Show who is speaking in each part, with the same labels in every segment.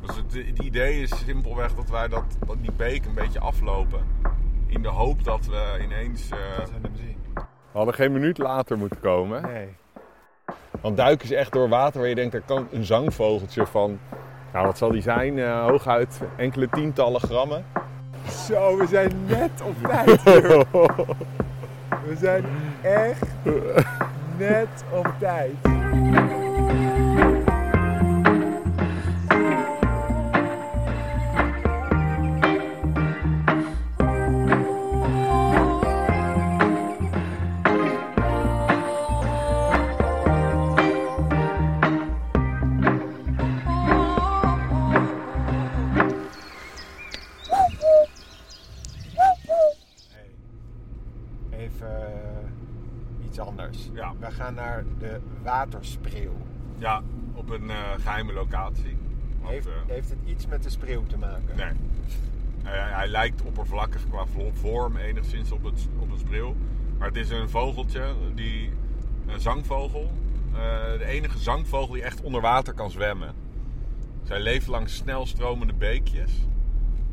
Speaker 1: Dus het idee is simpelweg dat wij dat, dat die beek een beetje aflopen. In de hoop dat we ineens... eh,
Speaker 2: Dat zijn hem zien.
Speaker 1: We hadden geen minuut later moeten komen. hè?
Speaker 2: Nee.
Speaker 1: Want duiken is echt door water waar je denkt, daar kan een zangvogeltje van... Nou, wat zal die zijn? Eh, hooguit enkele tientallen grammen.
Speaker 2: Zo, we zijn net op tijd. We zijn echt net op tijd. Even eh, iets anders.
Speaker 1: Ja.
Speaker 2: We gaan naar de waterspreeuw.
Speaker 1: Ja, op een eh, geheime locatie. Want,
Speaker 2: Heeft,
Speaker 1: eh,
Speaker 2: heeft het iets met de spreeuw te maken?
Speaker 1: Nee. Hij, hij lijkt oppervlakkig qua vlo- vorm enigszins op, het, op een spreeuw. Maar het is een vogeltje, die, een zangvogel. Eh, de enige zangvogel die echt onder water kan zwemmen. Zij leeft langs snel stromende beekjes.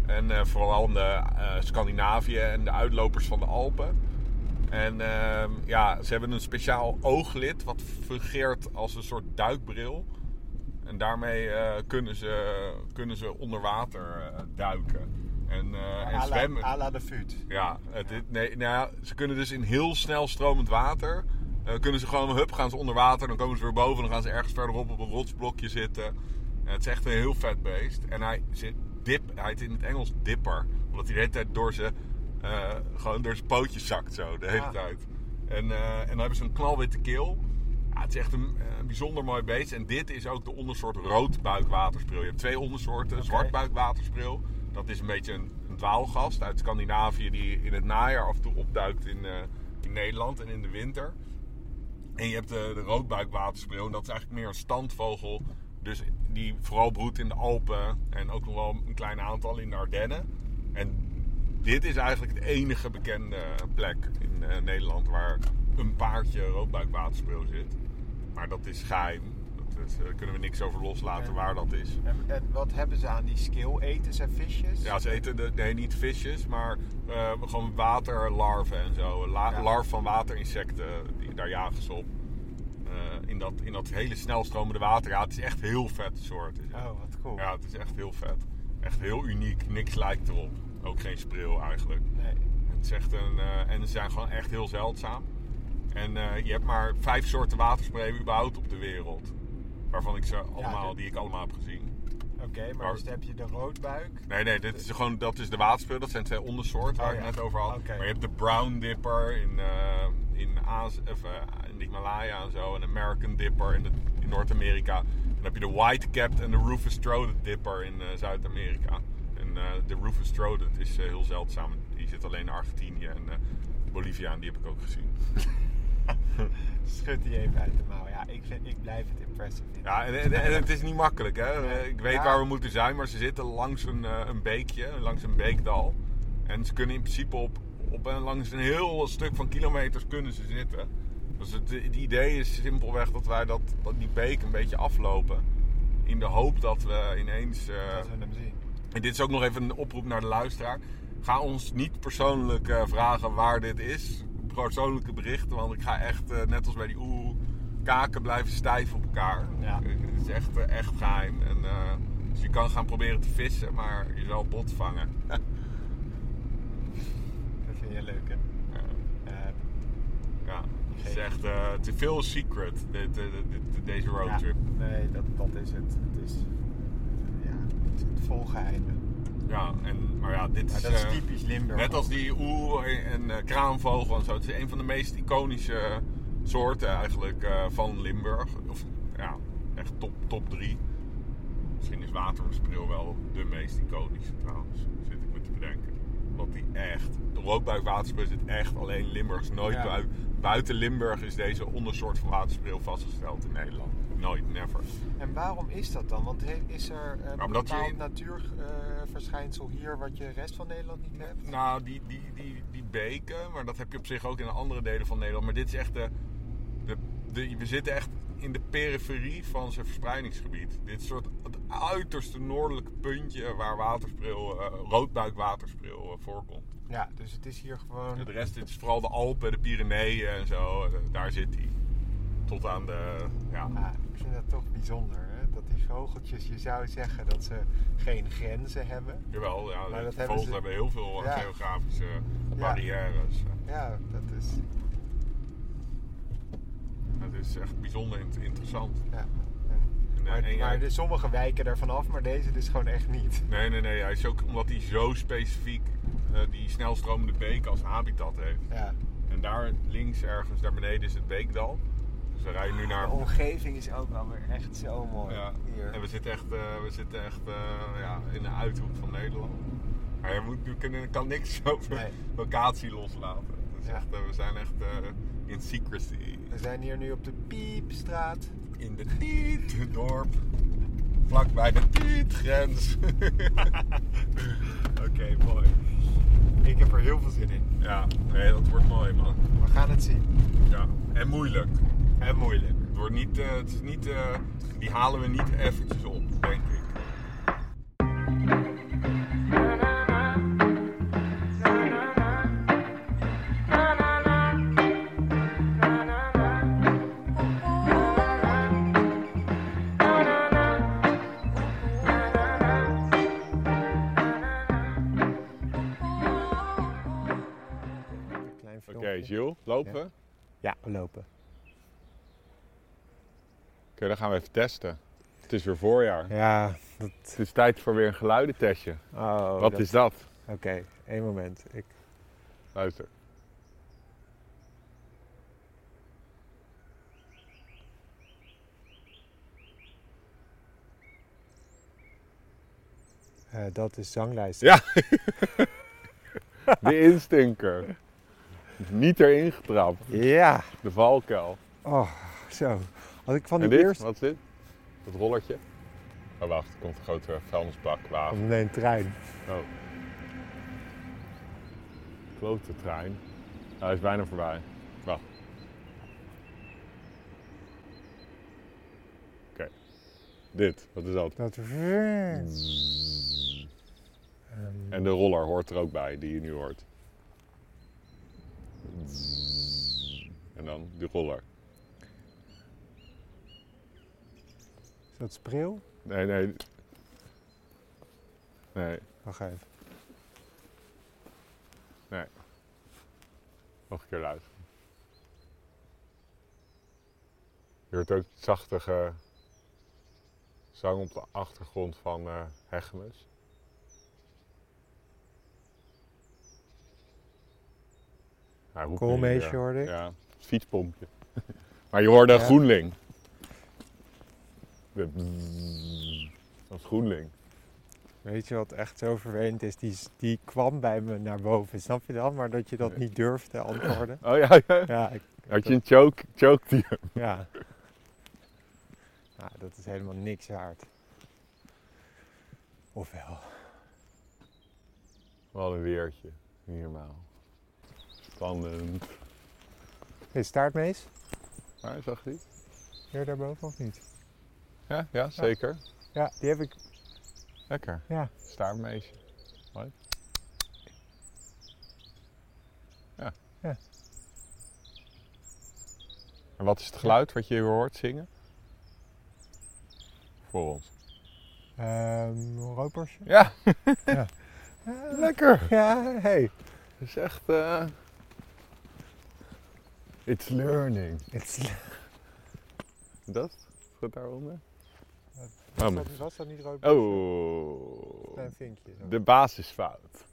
Speaker 1: En eh, vooral in de, eh, Scandinavië en de uitlopers van de Alpen. En ehm, ja, ze hebben een speciaal ooglid wat fungeert als een soort duikbril. En daarmee eh, kunnen, ze, kunnen ze onder water eh, duiken en, eh, en
Speaker 2: à la-
Speaker 1: zwemmen.
Speaker 2: à la de fut.
Speaker 1: Ja, het, is- nee, nou ja, ze kunnen dus in heel snel stromend water. eh, kunnen ze gewoon hup, gaan ze onder water, dan komen ze weer boven, dan gaan ze ergens verderop op een rotsblokje zitten. Eh, het is echt een heel vet beest. En hij zit dip, hij heet in het Engels dipper, omdat hij de hele tijd door zijn, eh, gewoon door zijn pootjes zakt zo, de hele
Speaker 2: Ah.
Speaker 1: tijd. En, eh, en dan hebben ze een knalwitte keel. Ja, het is echt een, eh, bijzonder mooi beest. En dit is ook de ondersoort roodbuikwaterspril. Je hebt twee ondersoorten. Zwartbuikwaterspril. Dat is een beetje een, een dwaalgast uit Scandinavië die in het najaar af en toe opduikt in, eh, in Nederland en in de winter. En je hebt de, de roodbuikwaterspreeuw. En dat is eigenlijk meer een standvogel. Dus die vooral broedt in de Alpen. En ook nog wel een klein aantal in de Ardennen. En dit is eigenlijk de enige bekende plek in eh, Nederland waar een paardje roodbuikwaterspreeuw zit. Maar dat is geheim. Dat is, eh, daar kunnen we niks over loslaten
Speaker 2: Ja.
Speaker 1: waar dat is.
Speaker 2: En, en wat hebben ze aan die skill? Eten ze visjes?
Speaker 1: Ja, ze eten de, nee, niet visjes, maar eh, gewoon waterlarven en zo. La,
Speaker 2: Ja.
Speaker 1: Larven van waterinsecten, die, daar jagen ze op. Eh, in, dat, in dat hele snelstromende water. Ja, het is echt heel vet soort. is het.
Speaker 2: Oh, wat cool.
Speaker 1: Ja, het is echt heel vet. Echt heel uniek. Niks lijkt erop. Ook geen spreeuw eigenlijk.
Speaker 2: Nee.
Speaker 1: Het is echt een, eh, en ze zijn gewoon echt heel zeldzaam. En eh, je hebt maar vijf soorten waterspreeuwen überhaupt op de wereld. Waarvan ik ze allemaal,
Speaker 2: dit-
Speaker 1: die ik allemaal heb gezien.
Speaker 2: Oké, maar
Speaker 1: Maar-
Speaker 2: dus dan heb je de roodbuik.
Speaker 1: Oh. Nee, nee, dit is gewoon, dat is de waterspreeuw. Dat zijn twee ondersoorten waar
Speaker 2: Oh,
Speaker 1: ik
Speaker 2: ja.
Speaker 1: net over had.
Speaker 2: Oké.
Speaker 1: Maar je hebt de brown dipper in, eh, in, Azië, of, eh, in de Himalaya en zo. En de American dipper in, de- in Noord-Amerika. En dan heb je de white-capped en de Rufus throated dipper in eh, Zuid-Amerika. En eh, de Rufus throated is eh, heel zeldzaam. Die zit alleen in Argentinië en eh, Bolivia en die heb ik ook gezien.
Speaker 2: Schud die even uit de mouw. Ja, ik, vind, ik blijf het impressive vinden.
Speaker 1: Ja, en, en- en het is niet makkelijk, hè?
Speaker 2: Nee.
Speaker 1: Ik weet
Speaker 2: Ja.
Speaker 1: waar we moeten zijn, maar ze zitten langs een, eh, een beekje, langs een beekdal. En ze kunnen in principe op, op en langs een heel stuk van kilometers kunnen ze zitten. Dus het, het idee is simpelweg dat wij dat, dat die beek een beetje aflopen. In de hoop dat we ineens... eh,
Speaker 2: Dat zullen we hem zien.
Speaker 1: en dit is ook nog even een oproep naar de luisteraar. Ga ons niet persoonlijk eh, vragen waar dit is. Persoonlijke berichten, want ik ga echt, eh, net als bij die oeh, kaken blijven stijf op elkaar.
Speaker 2: Ja.
Speaker 1: Eh, Het is echt, eh, echt geheim. En, eh, dus je kan gaan proberen te vissen, maar je zal bot vangen.
Speaker 2: Dat vind je leuk, hè?
Speaker 1: Eh,
Speaker 2: Eh,
Speaker 1: ja, het is echt eh, te veel secret, dit, eh, dit- dit- deze roadtrip.
Speaker 2: ja, nee, dat, dat is het. Het is, ja, het is het vol geheimen.
Speaker 1: Ja. en, maar ja, dit
Speaker 2: Maar
Speaker 1: is...
Speaker 2: dat is
Speaker 1: eh,
Speaker 2: typisch Limburg.
Speaker 1: Net als die oer en eh, kraanvogel en zo. Het is een van de meest iconische soorten eigenlijk eh, van Limburg. Of ja, echt top, top drie. Misschien is waterverspril wel de meest iconische trouwens. Zit ik me te bedenken. Want die echt, de roodbuikwaterspril zit echt alleen in Limburg. Is nooit
Speaker 2: Ja.
Speaker 1: bui- buiten Limburg is deze ondersoort van waterspril vastgesteld in Nederland. Nooit, never.
Speaker 2: En waarom is dat dan? Want he- is er een
Speaker 1: omdat je
Speaker 2: bepaald
Speaker 1: in-
Speaker 2: natuurverschijnsel hier wat je rest van Nederland niet hebt?
Speaker 1: Nou, die, die, die, die beken, maar dat heb je op zich ook in andere delen van Nederland. Maar dit is echt de. de, de- we zitten echt in de periferie van zijn verspreidingsgebied. Dit soort het uiterste noordelijke puntje waar waterspreeuw, eh, roodbuikwaterspreeuw eh, voorkomt.
Speaker 2: Ja, dus het is hier gewoon...
Speaker 1: En de rest dit is vooral de Alpen, de Pyreneeën en zo. eh, daar zit hij. Tot aan de... Ja,
Speaker 2: Ja, Ah, ik vind dat toch bijzonder, hè? Dat die vogeltjes, je zou zeggen dat ze geen grenzen hebben.
Speaker 1: jawel. Ja,
Speaker 2: Maar
Speaker 1: de
Speaker 2: dat hebben
Speaker 1: vogels
Speaker 2: ze-
Speaker 1: hebben heel veel eh,
Speaker 2: Ja.
Speaker 1: geografische barrières.
Speaker 2: Ja, dat is...
Speaker 1: Dat is echt bijzonder int- interessant.
Speaker 2: Ja.
Speaker 1: En, eh,
Speaker 2: Maar,
Speaker 1: en ja,
Speaker 2: maar de sommige wijken daarvan af, maar deze dus gewoon echt niet.
Speaker 1: Nee, nee, nee. Hij is ook omdat hij zo specifiek eh, die snelstromende beek als habitat heeft.
Speaker 2: Ja.
Speaker 1: En daar links ergens, daar beneden is het Beekdal. Dus we rijden nu naar...
Speaker 2: De omgeving is ook wel weer echt zo mooi
Speaker 1: Ja.
Speaker 2: Oh, hier.
Speaker 1: En we zitten echt, eh, we zitten echt eh, ja, in de uithoek van Nederland. Maar je moet, je kan, kan niks over
Speaker 2: Nee.
Speaker 1: locatie loslaten. Dat is
Speaker 2: Ja.
Speaker 1: echt, eh, we zijn echt eh, in secrecy.
Speaker 2: We zijn hier nu op de Piepstraat.
Speaker 1: In de Tietendorp. Vlak bij de Tietgrens.
Speaker 2: Oké, mooi. Ik heb er heel veel zin in.
Speaker 1: ja, nee, dat wordt mooi man.
Speaker 2: We gaan het zien.
Speaker 1: Ja. En moeilijk.
Speaker 2: En moeilijk.
Speaker 1: Het wordt niet, eh, het is niet, eh, die halen we niet eventjes op, denk ik.
Speaker 2: Klein
Speaker 1: Oké,
Speaker 2: filmpje.
Speaker 1: Jules, lopen we?
Speaker 2: Ja, we lopen.
Speaker 1: Oké, dan gaan we even testen. Het is weer voorjaar.
Speaker 2: Ja, dat...
Speaker 1: Het is tijd voor weer een geluidentestje.
Speaker 2: Oh,
Speaker 1: Wat
Speaker 2: dat-
Speaker 1: is dat?
Speaker 2: Oké, één moment. Ik...
Speaker 1: Luister.
Speaker 2: eh, dat is zanglijst.
Speaker 1: Ja! De instinker. Niet erin getrapt.
Speaker 2: Ja.
Speaker 1: De valkuil.
Speaker 2: Oh, zo. Als ik van
Speaker 1: En
Speaker 2: die
Speaker 1: dit?
Speaker 2: eerste...
Speaker 1: Wat is dit? Dat rollertje? Oh, wacht. Er komt een grote vuilnisbak. Waaf.
Speaker 2: Oh, nee, een trein.
Speaker 1: Oh. Klote trein. Nou, hij is bijna voorbij. Wacht. Oké. Dit, wat is dat?
Speaker 2: Dat...
Speaker 1: En de roller hoort er ook bij, die je nu hoort. En dan die roller.
Speaker 2: Is dat spreeuw?
Speaker 1: Nee, nee. Nee,
Speaker 2: Wacht even.
Speaker 1: nee. Nog een keer luid. Je hoort ook zachtige zang op de achtergrond van eh Hegemus. Hij roept nu,
Speaker 2: Koolmeesje
Speaker 1: eh,
Speaker 2: hoorde ik.
Speaker 1: Ja, het fietspompje. maar je hoorde
Speaker 2: Ja.
Speaker 1: Groenling. De bzzz. Dat is Groenling.
Speaker 2: Weet je wat echt zo vervelend is? Die, die kwam bij me naar boven, snap je dan? Maar dat je dat niet durfde antwoorden.
Speaker 1: Oh ja, ja.
Speaker 2: Ja, ik,
Speaker 1: Had je een choke, choke die
Speaker 2: ja. Nou, dat is helemaal niks waard. Ofwel.
Speaker 1: Wat een weertje. Niet normaal. Spannend.
Speaker 2: Is staartmees
Speaker 1: Maar Nou, zag je die?
Speaker 2: hier daarboven of niet?
Speaker 1: Ja, ja zeker.
Speaker 2: Ja, die heb ik.
Speaker 1: Lekker.
Speaker 2: Ja.
Speaker 1: Staartmeisje. Mooi. Ja.
Speaker 2: Ja.
Speaker 1: En wat is het geluid wat je hier hoort zingen? Voor ons.
Speaker 2: Ehm ropersje.
Speaker 1: Ja.
Speaker 2: Ja.
Speaker 1: Lekker.
Speaker 2: Ja, hey.
Speaker 1: Het is echt... eh, It's learning.
Speaker 2: It's-
Speaker 1: Dat? Is dat daaronder? Oh, maar-
Speaker 2: dat, was dat niet ropersje?
Speaker 1: Oh.
Speaker 2: Klein vinkje. zo.
Speaker 1: De basisfout.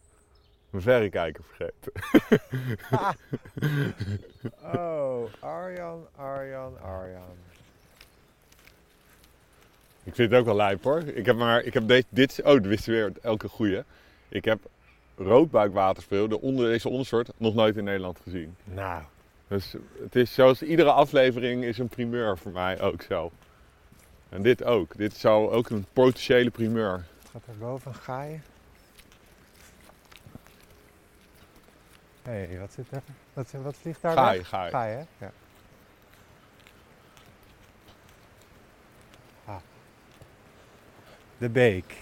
Speaker 1: Mijn verrekijker vergeten.
Speaker 2: Oh, Arjan, Arjan, Arjan.
Speaker 1: Ik vind het ook wel lijp hoor. Ik heb maar, ik heb deze, dit, oh, dat wist je weer, elke goeie. Ik heb roodbuikwaterspreeuw, de onder, deze ondersoort, nog nooit in Nederland gezien.
Speaker 2: Nou,
Speaker 1: Dus het is zoals iedere aflevering is een primeur voor mij ook zo. En dit ook. Dit zou ook een potentiële primeur.
Speaker 2: het gaat er boven gaaien. Hé, hey, wat zit er? Wat, wat vliegt daar
Speaker 1: Gaai,
Speaker 2: weg?
Speaker 1: gaai.
Speaker 2: Gaai, hè? Ja. Ah. de beek.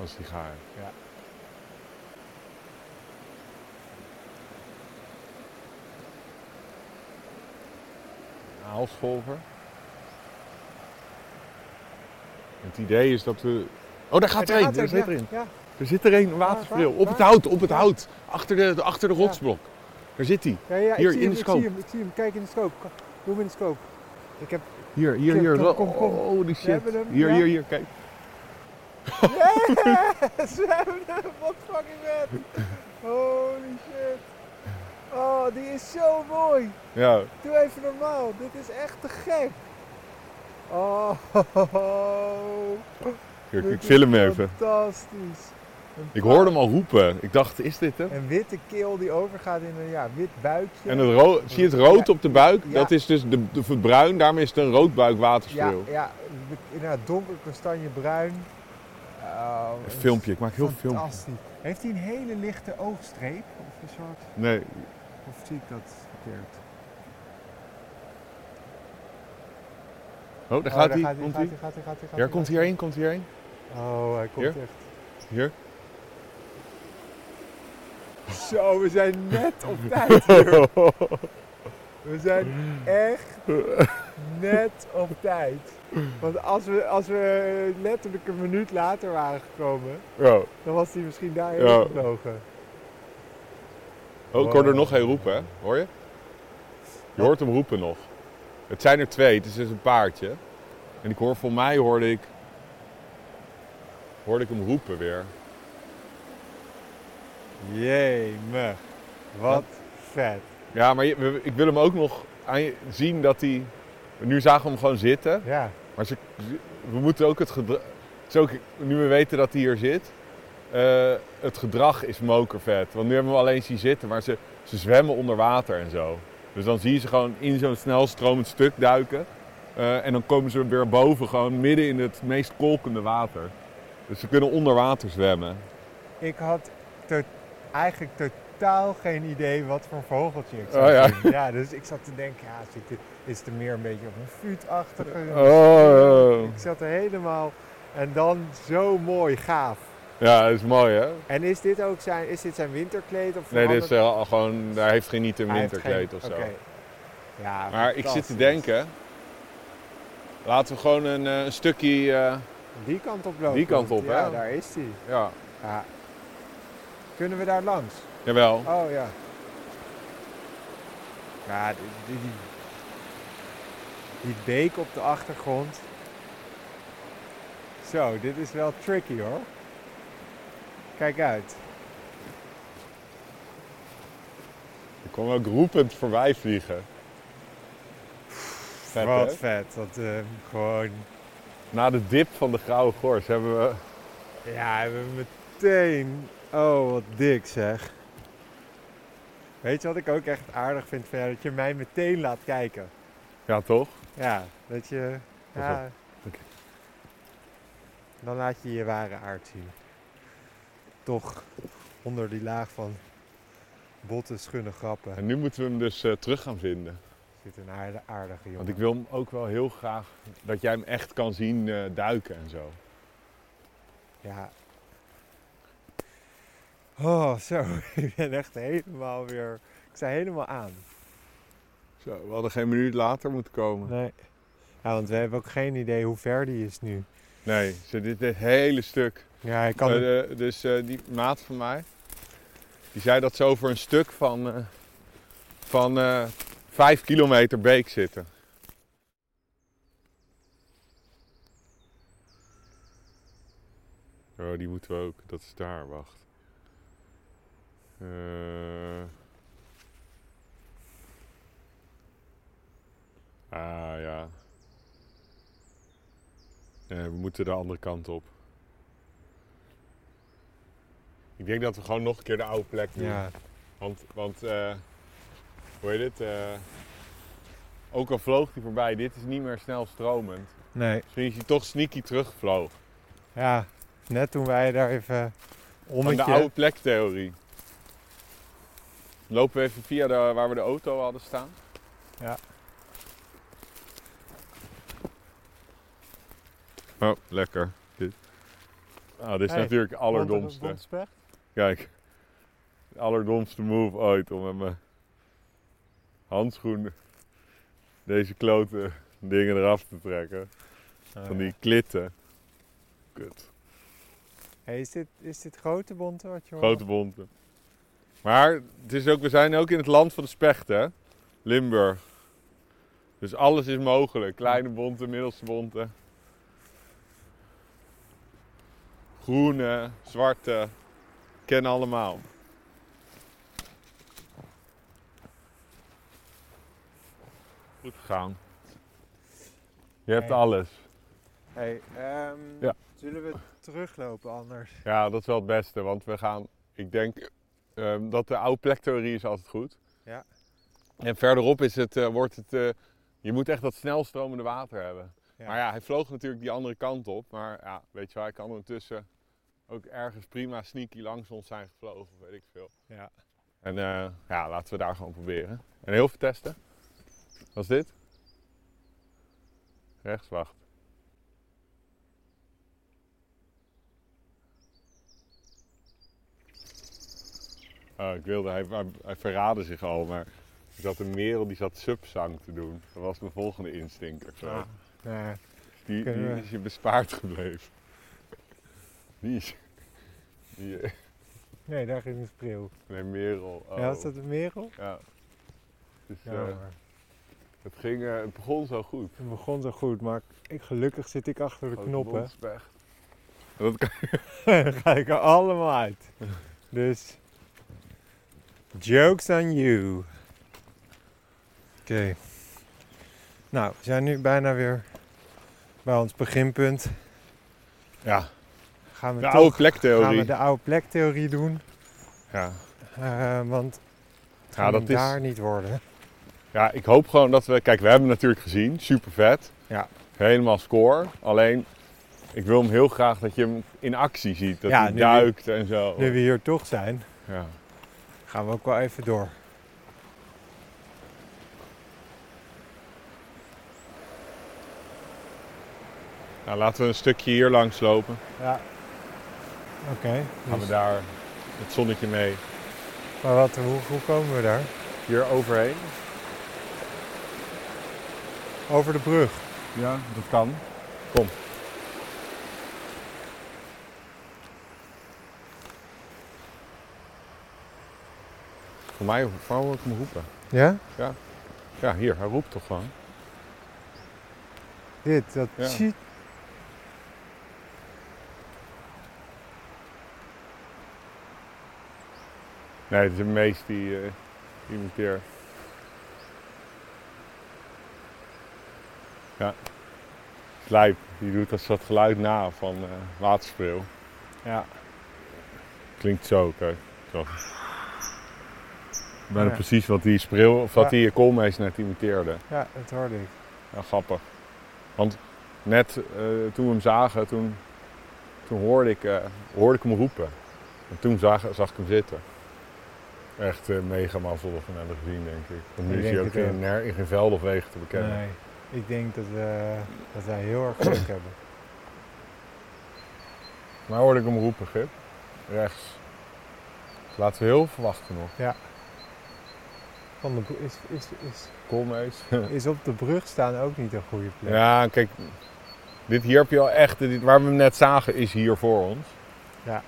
Speaker 1: Een sigaar. Ja. Aalscholver. Het idee is dat we... Oh, daar gaat er een. Er zit er een.
Speaker 2: Ja,
Speaker 1: Er zit er een, een waterbril.
Speaker 2: waar,
Speaker 1: Op het
Speaker 2: waar?
Speaker 1: hout, op het hout. Achter de, achter de rotsblok. Daar zit hij.
Speaker 2: ja, ja, ik
Speaker 1: Hier,
Speaker 2: zie
Speaker 1: in
Speaker 2: hem,
Speaker 1: de
Speaker 2: Ik
Speaker 1: scope.
Speaker 2: zie hem, ik zie hem. Kijk in de scope. Ko- Doe hem in de scope. Ik heb...
Speaker 1: Hier, hier,
Speaker 2: Kom,
Speaker 1: hier.
Speaker 2: kom, kom, kom.
Speaker 1: Oh, holy shit.
Speaker 2: hebben hem,
Speaker 1: Hier,
Speaker 2: ja.
Speaker 1: hier, hier. Kijk.
Speaker 2: Ze hebben hem! Wat fucking vet! Holy shit! Oh, die is zo mooi!
Speaker 1: Ja.
Speaker 2: Doe even normaal, dit is echt te gek! Oh,
Speaker 1: Hier,
Speaker 2: dit
Speaker 1: ik
Speaker 2: is
Speaker 1: film even.
Speaker 2: Fantastisch! Een
Speaker 1: Ik
Speaker 2: paar-
Speaker 1: hoorde hem al roepen. Ik dacht, is dit hem?
Speaker 2: Een witte keel die overgaat in een ja, wit buikje.
Speaker 1: En het ro- zie je het rood op de buik?
Speaker 2: Ja.
Speaker 1: Dat is dus de, de verbruin. Daarmee is het een roodbuik
Speaker 2: ja,
Speaker 1: waterspeel.
Speaker 2: ja, inderdaad donker kastanje bruin. Oh,
Speaker 1: Een filmpje. Ik maak heel veel filmpjes.
Speaker 2: Fantastisch. Heeft hij een hele lichte oogstreep? Of een soort...
Speaker 1: Nee,
Speaker 2: Of zie ik dat verkeerd?
Speaker 1: Oh, daar
Speaker 2: Oh,
Speaker 1: gaat
Speaker 2: daar
Speaker 1: hij. Komt hij?
Speaker 2: gaat hij, gaat hij, gaat
Speaker 1: Ja, komt hij hierheen? Komt hij hierheen?
Speaker 2: Oh, hij komt
Speaker 1: Hier?
Speaker 2: echt.
Speaker 1: Hier? Zo, we zijn net op tijd.
Speaker 2: We zijn echt net op tijd. Want als we, als we letterlijk een minuut later waren gekomen,
Speaker 1: Oh,
Speaker 2: dan was hij misschien daarheen
Speaker 1: Ja.
Speaker 2: gevlogen.
Speaker 1: Oh, ik hoor er nog één roepen, hè? Hoor je? Je hoort hem roepen nog. Het zijn er twee, het is dus een paardje. En ik hoor, voor mij hoorde ik... Hoorde ik hem roepen weer.
Speaker 2: Jee, me. Wat vet.
Speaker 1: Ja, maar je- we- ik wil hem ook nog aan je zien dat hij... Nu zagen we hem gewoon zitten.
Speaker 2: Ja.
Speaker 1: Maar ze, we moeten ook het gedrag. Ook, nu we weten dat hij hier zit. eh, het gedrag is mokervet. Want nu hebben we hem alleen zien zitten. Maar ze, ze zwemmen onder water en zo. Dus dan zie je ze gewoon in zo'n snel stromend stuk duiken. eh, en dan komen ze weer boven, gewoon midden in het meest kolkende water. Dus ze kunnen onder water zwemmen.
Speaker 2: Ik had to- eigenlijk totaal geen idee wat voor vogeltje ik zou
Speaker 1: Oh, ja.
Speaker 2: zien. Ja, dus ik zat te denken, ja, zie ik dit- is het meer een beetje op een vuutachtige.
Speaker 1: Oh.
Speaker 2: Ik zat er helemaal. En dan zo mooi gaaf.
Speaker 1: Ja, dat is mooi hè?
Speaker 2: En is dit ook zijn, is dit zijn winterkleed? Of
Speaker 1: Nee, dit
Speaker 2: verandert-
Speaker 1: is eh, al gewoon, daar heeft geen niet een
Speaker 2: Hij heeft geen-
Speaker 1: winterkleed of zo.
Speaker 2: oké. Ja,
Speaker 1: Maar ik zit te
Speaker 2: fantastisch.
Speaker 1: denken, laten we gewoon een, eh, een stukje, eh,
Speaker 2: Die kant op lopen.
Speaker 1: Die kant op,
Speaker 2: ja,
Speaker 1: hè?
Speaker 2: daar is hij.
Speaker 1: ja,
Speaker 2: Ja. Kunnen we daar langs?
Speaker 1: jawel.
Speaker 2: Oh ja. Ja, die, die, die, die beek op de achtergrond. Zo, dit is wel tricky hoor. Kijk uit.
Speaker 1: Ik kwam ook roepend voorbij vliegen. Vet,
Speaker 2: Wat
Speaker 1: hè?
Speaker 2: vet. Dat eh, gewoon.
Speaker 1: Na de dip van de grauwe gors hebben we...
Speaker 2: Ja, we hebben meteen. Oh, wat dik zeg. Weet je wat ik ook echt aardig vind van jou? Dat je mij meteen laat kijken.
Speaker 1: Ja, toch?
Speaker 2: Ja, dat je.
Speaker 1: Of
Speaker 2: Ja.
Speaker 1: Oké.
Speaker 2: Dan laat je je ware aard zien. Toch onder die laag van botte, schunne grappen
Speaker 1: En nu moeten we hem dus eh, terug gaan vinden.
Speaker 2: zit een aarde, aardige jongen.
Speaker 1: Want ik wil hem ook wel heel graag dat jij hem echt kan zien eh, duiken en zo.
Speaker 2: Ja. Oh, zo. ik ben echt helemaal weer. Ik sta helemaal aan.
Speaker 1: Zo, we hadden geen minuut later moeten komen.
Speaker 2: Nee. Ja, want we hebben ook geen idee hoe ver die is nu.
Speaker 1: Nee, zo dit, dit hele stuk.
Speaker 2: Ja, ik kan.
Speaker 1: Eh,
Speaker 2: het-
Speaker 1: de- dus eh, die maat van mij, die zei dat ze over een stuk van, eh, van eh 5 kilometer beek zitten. Oh, die moeten we ook. Dat is daar, wacht. Eh, Ah ja. Eh, we moeten de andere kant op. Ik denk dat we gewoon nog een keer de oude plek doen.
Speaker 2: ja.
Speaker 1: Want, want eh, hoe heet het? Eh, Ook al vloog hij voorbij, dit is niet meer snel stromend.
Speaker 2: Nee.
Speaker 1: Misschien is hij toch sneaky teruggevlogen.
Speaker 2: Ja, net toen wij daar even
Speaker 1: Van de
Speaker 2: ommetje...
Speaker 1: oude plektheorie. Lopen we even via de, waar we de auto hadden staan.
Speaker 2: Ja.
Speaker 1: Oh, lekker. Dit, Ah, dit is
Speaker 2: Hey,
Speaker 1: natuurlijk het allerdomste.
Speaker 2: Bondspecht.
Speaker 1: Kijk, de allerdomste move ooit om met mijn handschoenen deze klote dingen eraf te trekken. Van die klitten. Kut.
Speaker 2: Hey, is, dit, is dit grote bonte wat je hoort?
Speaker 1: Grote bonten. Maar het is ook, we zijn ook in het land van de specht, hè? Limburg. Dus alles is mogelijk. Kleine bonten, middelste bonten. Groene, zwarte. Ken allemaal. Goed gegaan. Je hebt
Speaker 2: Hey.
Speaker 1: alles.
Speaker 2: Hey, ehm,
Speaker 1: Ja.
Speaker 2: zullen we teruglopen anders?
Speaker 1: Ja, dat is wel het beste, want we gaan, ik denk ehm, dat de oude plektheorie is altijd goed.
Speaker 2: Ja.
Speaker 1: En verderop is het, eh, wordt het, eh, je moet echt dat snelstromende water hebben.
Speaker 2: Ja.
Speaker 1: Maar ja, hij vloog natuurlijk die andere kant op, maar ja, weet je wel, hij kan ondertussen ook ergens prima sneaky langs ons zijn gevlogen, of weet ik veel.
Speaker 2: Ja.
Speaker 1: En eh, ja, laten we daar gewoon proberen. En heel veel testen. Wat is dit? Rechts, wacht. Oh, ik wilde, hij, hij, hij verraadde zich al, maar er zat een merel die zat subzang te doen. Dat was mijn volgende instinct of zo.
Speaker 2: Ah, Nee.
Speaker 1: die,
Speaker 2: kunnen
Speaker 1: die
Speaker 2: we-
Speaker 1: is je bespaard gebleven. Die is... Die, eh,
Speaker 2: nee, daar ging een spreeuw.
Speaker 1: nee, merel. Oh.
Speaker 2: Ja, was dat een merel?
Speaker 1: Ja. Dus,
Speaker 2: Ja,
Speaker 1: eh,
Speaker 2: maar
Speaker 1: het, ging, eh, het begon zo goed.
Speaker 2: het begon zo goed, maar ik, gelukkig zit ik achter de
Speaker 1: Grote
Speaker 2: knoppen.
Speaker 1: bondspecht. Dat kan-
Speaker 2: Dan ga ik er allemaal uit. Dus, jokes on you. Oké. Nou, we zijn nu bijna weer bij ons beginpunt.
Speaker 1: ja,
Speaker 2: Gaan we,
Speaker 1: de
Speaker 2: toch,
Speaker 1: oude
Speaker 2: gaan
Speaker 1: plektheorie.
Speaker 2: we de oude plektheorie doen.
Speaker 1: Ja.
Speaker 2: Eh, want het
Speaker 1: Ja,
Speaker 2: kan
Speaker 1: dat is,
Speaker 2: daar niet worden.
Speaker 1: ja, ik hoop gewoon dat we... Kijk, we hebben hem natuurlijk gezien. Super vet.
Speaker 2: Ja.
Speaker 1: Helemaal score. Alleen, ik wil hem heel graag dat je hem in actie ziet. Dat
Speaker 2: Ja,
Speaker 1: hij
Speaker 2: nu-
Speaker 1: duikt en zo.
Speaker 2: Nu we hier toch zijn,
Speaker 1: Ja.
Speaker 2: gaan we ook wel even door.
Speaker 1: Nou, laten we een stukje hier langs lopen.
Speaker 2: Ja. Oké.
Speaker 1: Gaan we
Speaker 2: dus-
Speaker 1: daar het zonnetje mee
Speaker 2: maar wat, hoe, hoe komen we daar?
Speaker 1: hier overheen.
Speaker 2: Over de brug.
Speaker 1: Ja, dat kan. Kom. Voor mij voor mij hoor ik hem roepen.
Speaker 2: Ja?
Speaker 1: Ja, hier, hij roept toch gewoon.
Speaker 2: Dit, dat
Speaker 1: Ja.
Speaker 2: tjiet.
Speaker 1: Nee, het is een meest die eh imiteert. Ja. Slijp, die doet dat, dat geluid na van eh waterspreeuw.
Speaker 2: Ja.
Speaker 1: Klinkt zo, kijk. Zo. Bijna
Speaker 2: Ja.
Speaker 1: precies wat die spreeuw, of wat
Speaker 2: Ja.
Speaker 1: die koolmees net imiteerde.
Speaker 2: ja, dat hoorde ik.
Speaker 1: Ja, grappig. Want net eh, toen we hem zagen, toen, toen hoorde, ik, eh, hoorde ik hem roepen. En toen zag, zag ik hem zitten. Echt eh, mega mazzel dat we hem hebben gezien, denk ik. Want nu is
Speaker 2: Ik denk
Speaker 1: hij ook
Speaker 2: het ook.
Speaker 1: in, ner- in geen veld of wegen te bekennen.
Speaker 2: Nee, ik denk dat, we dat wij heel erg geluk hebben.
Speaker 1: Maar Nou hoorde ik hem roepen, Gip. Rechts. Dus laten we heel verwachten nog.
Speaker 2: Van de bro- is, is, is,
Speaker 1: Koolmees.
Speaker 2: is op de brug staan ook niet een goede plek.
Speaker 1: Ja, kijk, dit hier heb je al echt, dit, waar we hem net zagen, is hier voor ons.
Speaker 2: Ja.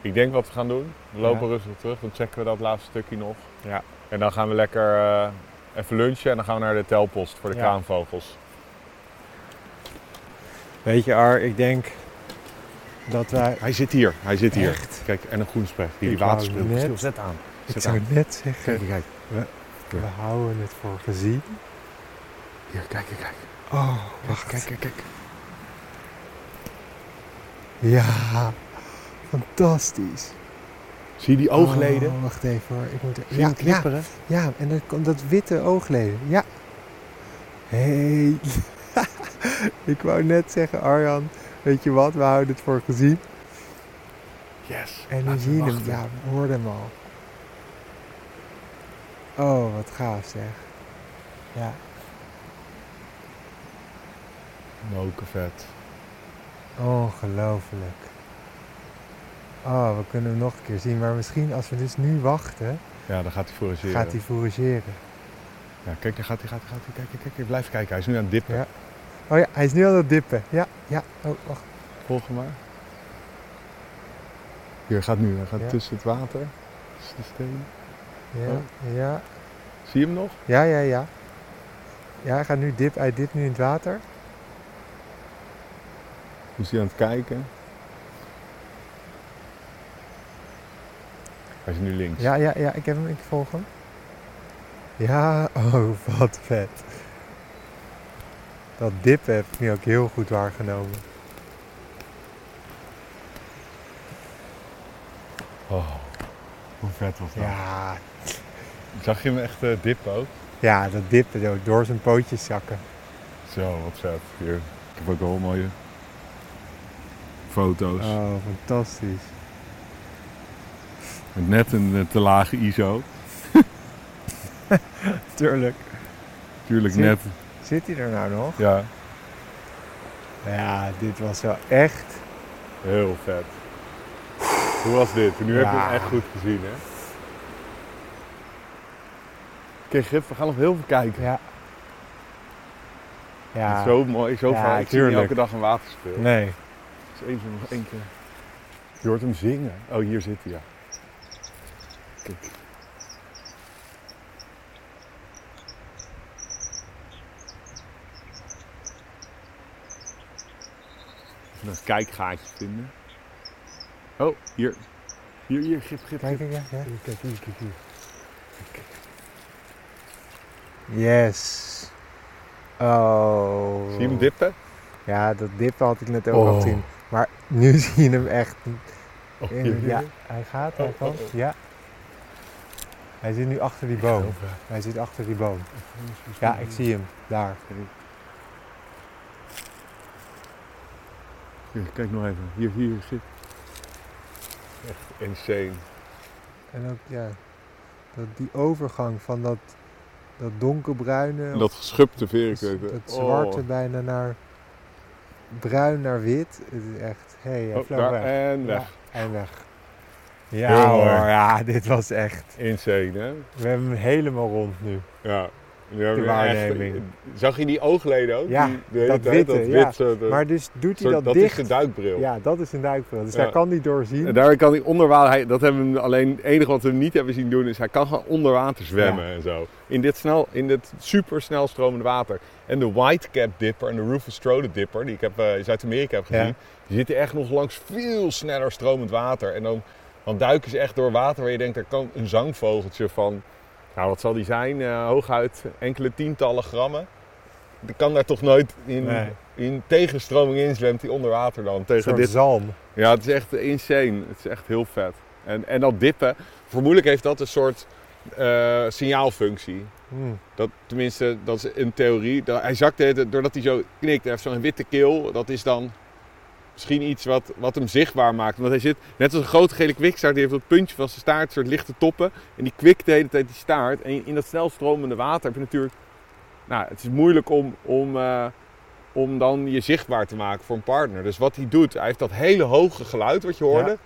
Speaker 1: Ik denk wat we gaan doen. We lopen
Speaker 2: Ja.
Speaker 1: rustig terug, dan checken we dat laatste stukje nog.
Speaker 2: Ja.
Speaker 1: En dan gaan we lekker eh, even lunchen en dan gaan we naar de telpost voor de
Speaker 2: Ja.
Speaker 1: kraanvogels.
Speaker 2: Weet je Ar, ik denk dat wij...
Speaker 1: Hij zit hier, hij zit hier.
Speaker 2: Echt?
Speaker 1: Kijk, en een groenspecht. Hier, die
Speaker 2: Ik wou
Speaker 1: waterspril.
Speaker 2: net-
Speaker 1: Stil, zet aan.
Speaker 2: Ik
Speaker 1: Zet
Speaker 2: zou
Speaker 1: aan.
Speaker 2: net zeggen,
Speaker 1: Kijk, kijk.
Speaker 2: we houden het voor gezien.
Speaker 1: Hier, kijk, kijk, kijk.
Speaker 2: Oh, wacht.
Speaker 1: Kijk, kijk, kijk.
Speaker 2: Ja, fantastisch.
Speaker 1: Zie je die oogleden?
Speaker 2: Oh, wacht even hoor. Ik moet er...
Speaker 1: Zie je
Speaker 2: Ja,
Speaker 1: hem
Speaker 2: ja,
Speaker 1: knipperen?
Speaker 2: ja, en dat, komt dat witte oogleden. Ja. Hey. ik wou net zeggen, Arjan, weet je wat, we houden het voor gezien.
Speaker 1: Yes.
Speaker 2: En nu
Speaker 1: laten we
Speaker 2: zie je hem.
Speaker 1: wachten.
Speaker 2: Ja, we hoorden hem al. Oh, wat gaaf zeg. Ja.
Speaker 1: Mokervet.
Speaker 2: Ongelooflijk. Oh, we kunnen hem nog een keer zien. Maar misschien als we dus nu wachten,
Speaker 1: Ja, dan gaat hij forageren.
Speaker 2: gaat hij fourageren.
Speaker 1: Ja, kijk, daar gaat hij, gaat hij, gaat hij. Kijk, kijk, kijk. Blijf kijken. Hij is nu aan het dippen.
Speaker 2: Ja. Oh ja, hij is nu aan het dippen. Ja, ja. Oh, wacht.
Speaker 1: Volg hem maar. Hier, hij gaat nu. Hij gaat
Speaker 2: Ja.
Speaker 1: tussen het water. Tussen de stenen.
Speaker 2: Ja, ja,
Speaker 1: Zie je hem nog?
Speaker 2: ja, ja, ja. Ja, hij gaat nu dip. Hij dipt nu in het water.
Speaker 1: Hoe is hij aan het kijken? Hij is nu links.
Speaker 2: Ja, ja, ja. Ik heb hem. Ik volg hem. Ja, oh, wat vet. Dat dippen heb ik nu ook heel goed waargenomen.
Speaker 1: Oh, hoe vet was dat?
Speaker 2: Ja,
Speaker 1: Zag je hem echt eh, dippen ook?
Speaker 2: ja dat dippen zo door zijn pootjes zakken.
Speaker 1: Zo, wat vet. Hier, ik heb ook al mooie foto's.
Speaker 2: Oh, fantastisch.
Speaker 1: Met net een eh, te lage ISO.
Speaker 2: Tuurlijk.
Speaker 1: Tuurlijk
Speaker 2: Zie je?
Speaker 1: net.
Speaker 2: Zit hij er nou nog?
Speaker 1: Ja,
Speaker 2: Ja, dit was wel echt.
Speaker 1: heel vet. Hoe was dit? Nu heb je
Speaker 2: Ja.
Speaker 1: hem echt goed gezien, hè? Oké, Gif, we gaan nog heel veel kijken.
Speaker 2: Ja. Ja.
Speaker 1: Zo mooi, zo
Speaker 2: Ja,
Speaker 1: vaak. Ik zie niet
Speaker 2: tuurlijk.
Speaker 1: elke dag een waterspeel.
Speaker 2: Nee.
Speaker 1: Dus één keer nog één keer. Je hoort hem zingen. Oh, hier zit hij, ja. Kijk. Even een kijkgaatje vinden. Oh, hier. Hier, hier, gip, gip,
Speaker 2: Kijk,
Speaker 1: gip.
Speaker 2: kijk, ja. ja.
Speaker 1: Hier, Kijk, hier, kijk, hier. Kijk.
Speaker 2: Yes. Oh.
Speaker 1: Zie je hem dippen?
Speaker 2: Ja, dat dippen had ik net ook al
Speaker 1: Oh.
Speaker 2: gezien. Maar nu zie je hem echt.
Speaker 1: Oh, hier,
Speaker 2: In,
Speaker 1: hier.
Speaker 2: ja, hij gaat, hij
Speaker 1: Oh,
Speaker 2: kan.
Speaker 1: oh, oh.
Speaker 2: Ja. Hij zit nu achter die
Speaker 1: Heel
Speaker 2: boom.
Speaker 1: vet.
Speaker 2: Hij zit achter die boom. Ja, ik zie hem. Daar.
Speaker 1: Hier, kijk nog even. Hier, hier, gip. Echt insane.
Speaker 2: En ook, ja. Dat, die overgang van dat, dat donkerbruine.
Speaker 1: En dat geschupte
Speaker 2: Het
Speaker 1: verenkeuken. Oh.
Speaker 2: het zwarte bijna naar bruin naar wit. Het is echt, hé, hey, hij
Speaker 1: Oh,
Speaker 2: vloog
Speaker 1: daar
Speaker 2: weg.
Speaker 1: en weg.
Speaker 2: Ja, en weg. Ja
Speaker 1: Heel
Speaker 2: hoor,
Speaker 1: mooi.
Speaker 2: ja, dit was echt.
Speaker 1: Insane, hè?
Speaker 2: We hebben hem helemaal rond nu.
Speaker 1: Ja. Nu hebben
Speaker 2: De
Speaker 1: we
Speaker 2: waarneming.
Speaker 1: echt- zag je die oogleden ook?
Speaker 2: Ja,
Speaker 1: die, de hele
Speaker 2: dat
Speaker 1: tijd,
Speaker 2: witte,
Speaker 1: dat
Speaker 2: ja.
Speaker 1: wit. Eh, zo, dat-
Speaker 2: Maar dus doet hij
Speaker 1: soort-
Speaker 2: dat,
Speaker 1: dat
Speaker 2: dicht.
Speaker 1: is de duikbril.
Speaker 2: ja, dat is een duikbril. Dus
Speaker 1: Ja.
Speaker 2: daar kan hij doorzien.
Speaker 1: En daar kan hij onder water, hij- dat hebben we hem alleen, het enige wat we hem niet hebben zien doen is hij kan gewoon onder water zwemmen en zo. In dit, snel, in dit supersnel stromende water. En de whitecap dipper en de Rufus Strode dipper, die ik heb, eh, in Zuid-Amerika heb gezien,
Speaker 2: Ja.
Speaker 1: die zitten echt nog langs veel sneller stromend water. En dan, dan duiken ze echt door water waar je denkt, er kan een zangvogeltje van, nou wat zal die zijn, Eh, hooguit enkele tientallen grammen. Die kan daar toch nooit in,
Speaker 2: Nee.
Speaker 1: in tegenstroming inzwemt, die onder water dan.
Speaker 2: een
Speaker 1: Tegen
Speaker 2: soort
Speaker 1: dit
Speaker 2: zalm.
Speaker 1: ja, het is echt insane. Het is echt heel vet. En, en dat dippen, vermoedelijk heeft dat een soort eh, signaalfunctie.
Speaker 2: Hmm.
Speaker 1: Dat, tenminste, dat is een theorie. Dat, hij zakt de hele tijd- doordat hij zo knikt. Hij heeft zo'n witte keel. Dat is dan misschien iets wat, wat hem zichtbaar maakt. Want hij zit, net als een grote gele kwikstaart, die heeft dat puntje van zijn staart, een soort lichte toppen. En die kwikt de hele tijd die staart. En in dat snel stromende water heb je natuurlijk... Nou, het is moeilijk om, om, eh, om dan je zichtbaar te maken voor een partner. Dus wat hij doet, hij heeft dat hele hoge geluid wat je hoorde.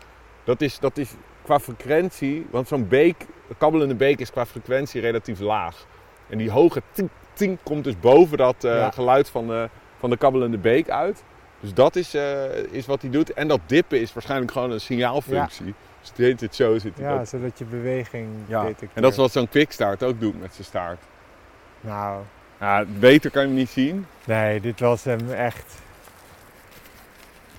Speaker 1: Dat, is, dat is qua frequentie, want zo'n beek, een kabbelende beek is qua frequentie relatief laag. En die hoge tink, tink komt dus boven dat eh,
Speaker 2: Ja.
Speaker 1: geluid van de, van de kabbelende beek uit. Dus dat is, eh, is wat hij doet. En dat dippen is waarschijnlijk gewoon een signaalfunctie. Dus het heet het zo zit hij
Speaker 2: Ja,
Speaker 1: dat.
Speaker 2: zodat je beweging
Speaker 1: Ja.
Speaker 2: detecteert.
Speaker 1: En dat is wat zo'n quickstart ook doet met zijn staart.
Speaker 2: Nou,
Speaker 1: Ja, beter kan je hem niet zien.
Speaker 2: nee, dit was hem echt.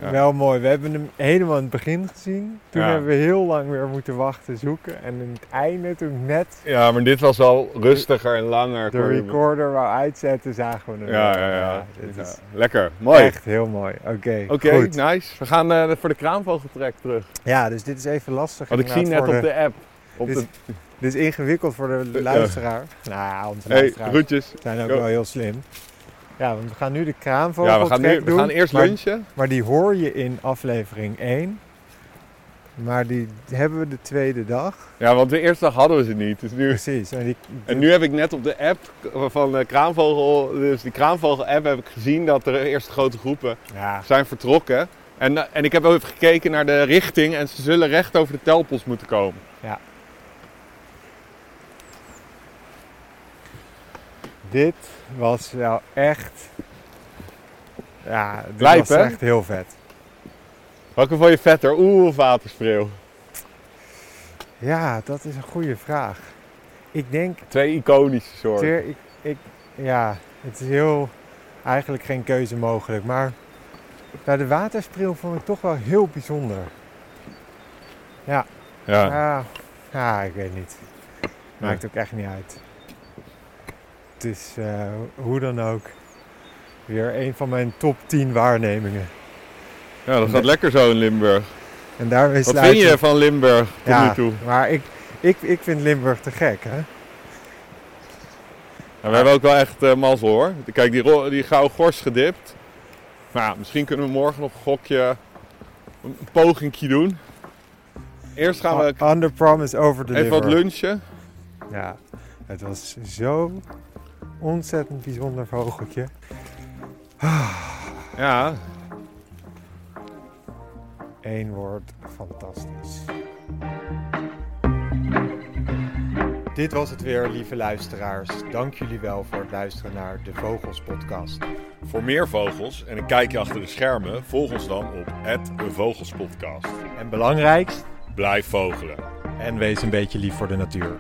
Speaker 1: Ja.
Speaker 2: Wel mooi. We hebben hem helemaal aan het begin gezien. Toen
Speaker 1: Ja.
Speaker 2: hebben we heel lang weer moeten wachten, zoeken. En in het einde, toen net
Speaker 1: Ja, maar dit was al rustiger en langer.
Speaker 2: de recorder wou uitzetten, zagen we hem.
Speaker 1: Ja,
Speaker 2: weer.
Speaker 1: ja, ja.
Speaker 2: dit
Speaker 1: Ja.
Speaker 2: is
Speaker 1: Lekker. Mooi.
Speaker 2: echt heel mooi. Oké,
Speaker 1: Oké,
Speaker 2: goed.
Speaker 1: nice. We gaan eh, voor de kraanvogeltrek terug.
Speaker 2: Ja, dus dit is even lastig.
Speaker 1: Want ik zie net
Speaker 2: inderdaad
Speaker 1: op
Speaker 2: voor
Speaker 1: de, app. Op
Speaker 2: Dit
Speaker 1: de,
Speaker 2: is- Dit is ingewikkeld voor de
Speaker 1: Ja.
Speaker 2: luisteraar. Nou ja, onze
Speaker 1: hey,
Speaker 2: luisteraars
Speaker 1: groetjes.
Speaker 2: zijn ook
Speaker 1: Ja.
Speaker 2: wel heel slim. Ja, want we gaan nu de kraanvogel
Speaker 1: Ja, we gaan, nu, we
Speaker 2: doen.
Speaker 1: gaan eerst
Speaker 2: maar-
Speaker 1: lunchen.
Speaker 2: Maar die hoor je in aflevering 1. Maar die hebben we de tweede dag.
Speaker 1: Ja, want de eerste dag hadden we ze niet. Dus nu,
Speaker 2: Precies. En die,
Speaker 1: en nu heb ik net op de app van eh, Kraanvogel, dus die Kraanvogel-app, heb ik gezien dat er eerst grote groepen
Speaker 2: ja,
Speaker 1: zijn vertrokken. En, eh, en ik heb even gekeken naar de richting en ze zullen recht over de telpels moeten komen.
Speaker 2: dit was wel echt... Ja, dit
Speaker 1: Lijp,
Speaker 2: was
Speaker 1: hè?
Speaker 2: echt heel vet.
Speaker 1: Welke vond je vetter, oeh of waterspreeuw?
Speaker 2: Ja, dat is een goede vraag. Ik denk...
Speaker 1: Twee iconische soorten.
Speaker 2: Ter, ik, ik, ja, het is heel... Eigenlijk geen keuze mogelijk. Maar nou, de waterspril vond ik toch wel heel bijzonder.
Speaker 1: Ja.
Speaker 2: Ja, ja ik weet niet. Maakt ook echt niet uit. Het is eh, hoe dan ook weer een van mijn top 10 waarnemingen.
Speaker 1: ja, dat gaat lekker zo in Limburg.
Speaker 2: En daarmee
Speaker 1: Wat
Speaker 2: sluit
Speaker 1: vind je
Speaker 2: ik-
Speaker 1: van Limburg tot
Speaker 2: ja,
Speaker 1: nu toe?
Speaker 2: Maar ik, ik, ik vind Limburg te gek, hè?
Speaker 1: Nou, we hebben ook wel echt eh, mazzel hoor. Kijk, die, ro- die gouden gors gedipt. Maar ja, misschien kunnen we morgen nog een gokje, een pogingje doen. Eerst gaan we
Speaker 2: Under promise, over Ah, deliver.
Speaker 1: even wat lunchen.
Speaker 2: Ja, het was zo ontzettend bijzonder vogeltje.
Speaker 1: Ja,
Speaker 2: Eén woord, fantastisch. Dit was het weer, lieve luisteraars. Dank jullie wel voor het luisteren naar de Vogels Podcast.
Speaker 1: voor meer vogels en een kijkje achter de schermen, volg ons dan op Vogelspodcast.
Speaker 2: En belangrijkst,
Speaker 1: Blijf vogelen.
Speaker 2: en wees een beetje lief voor de natuur.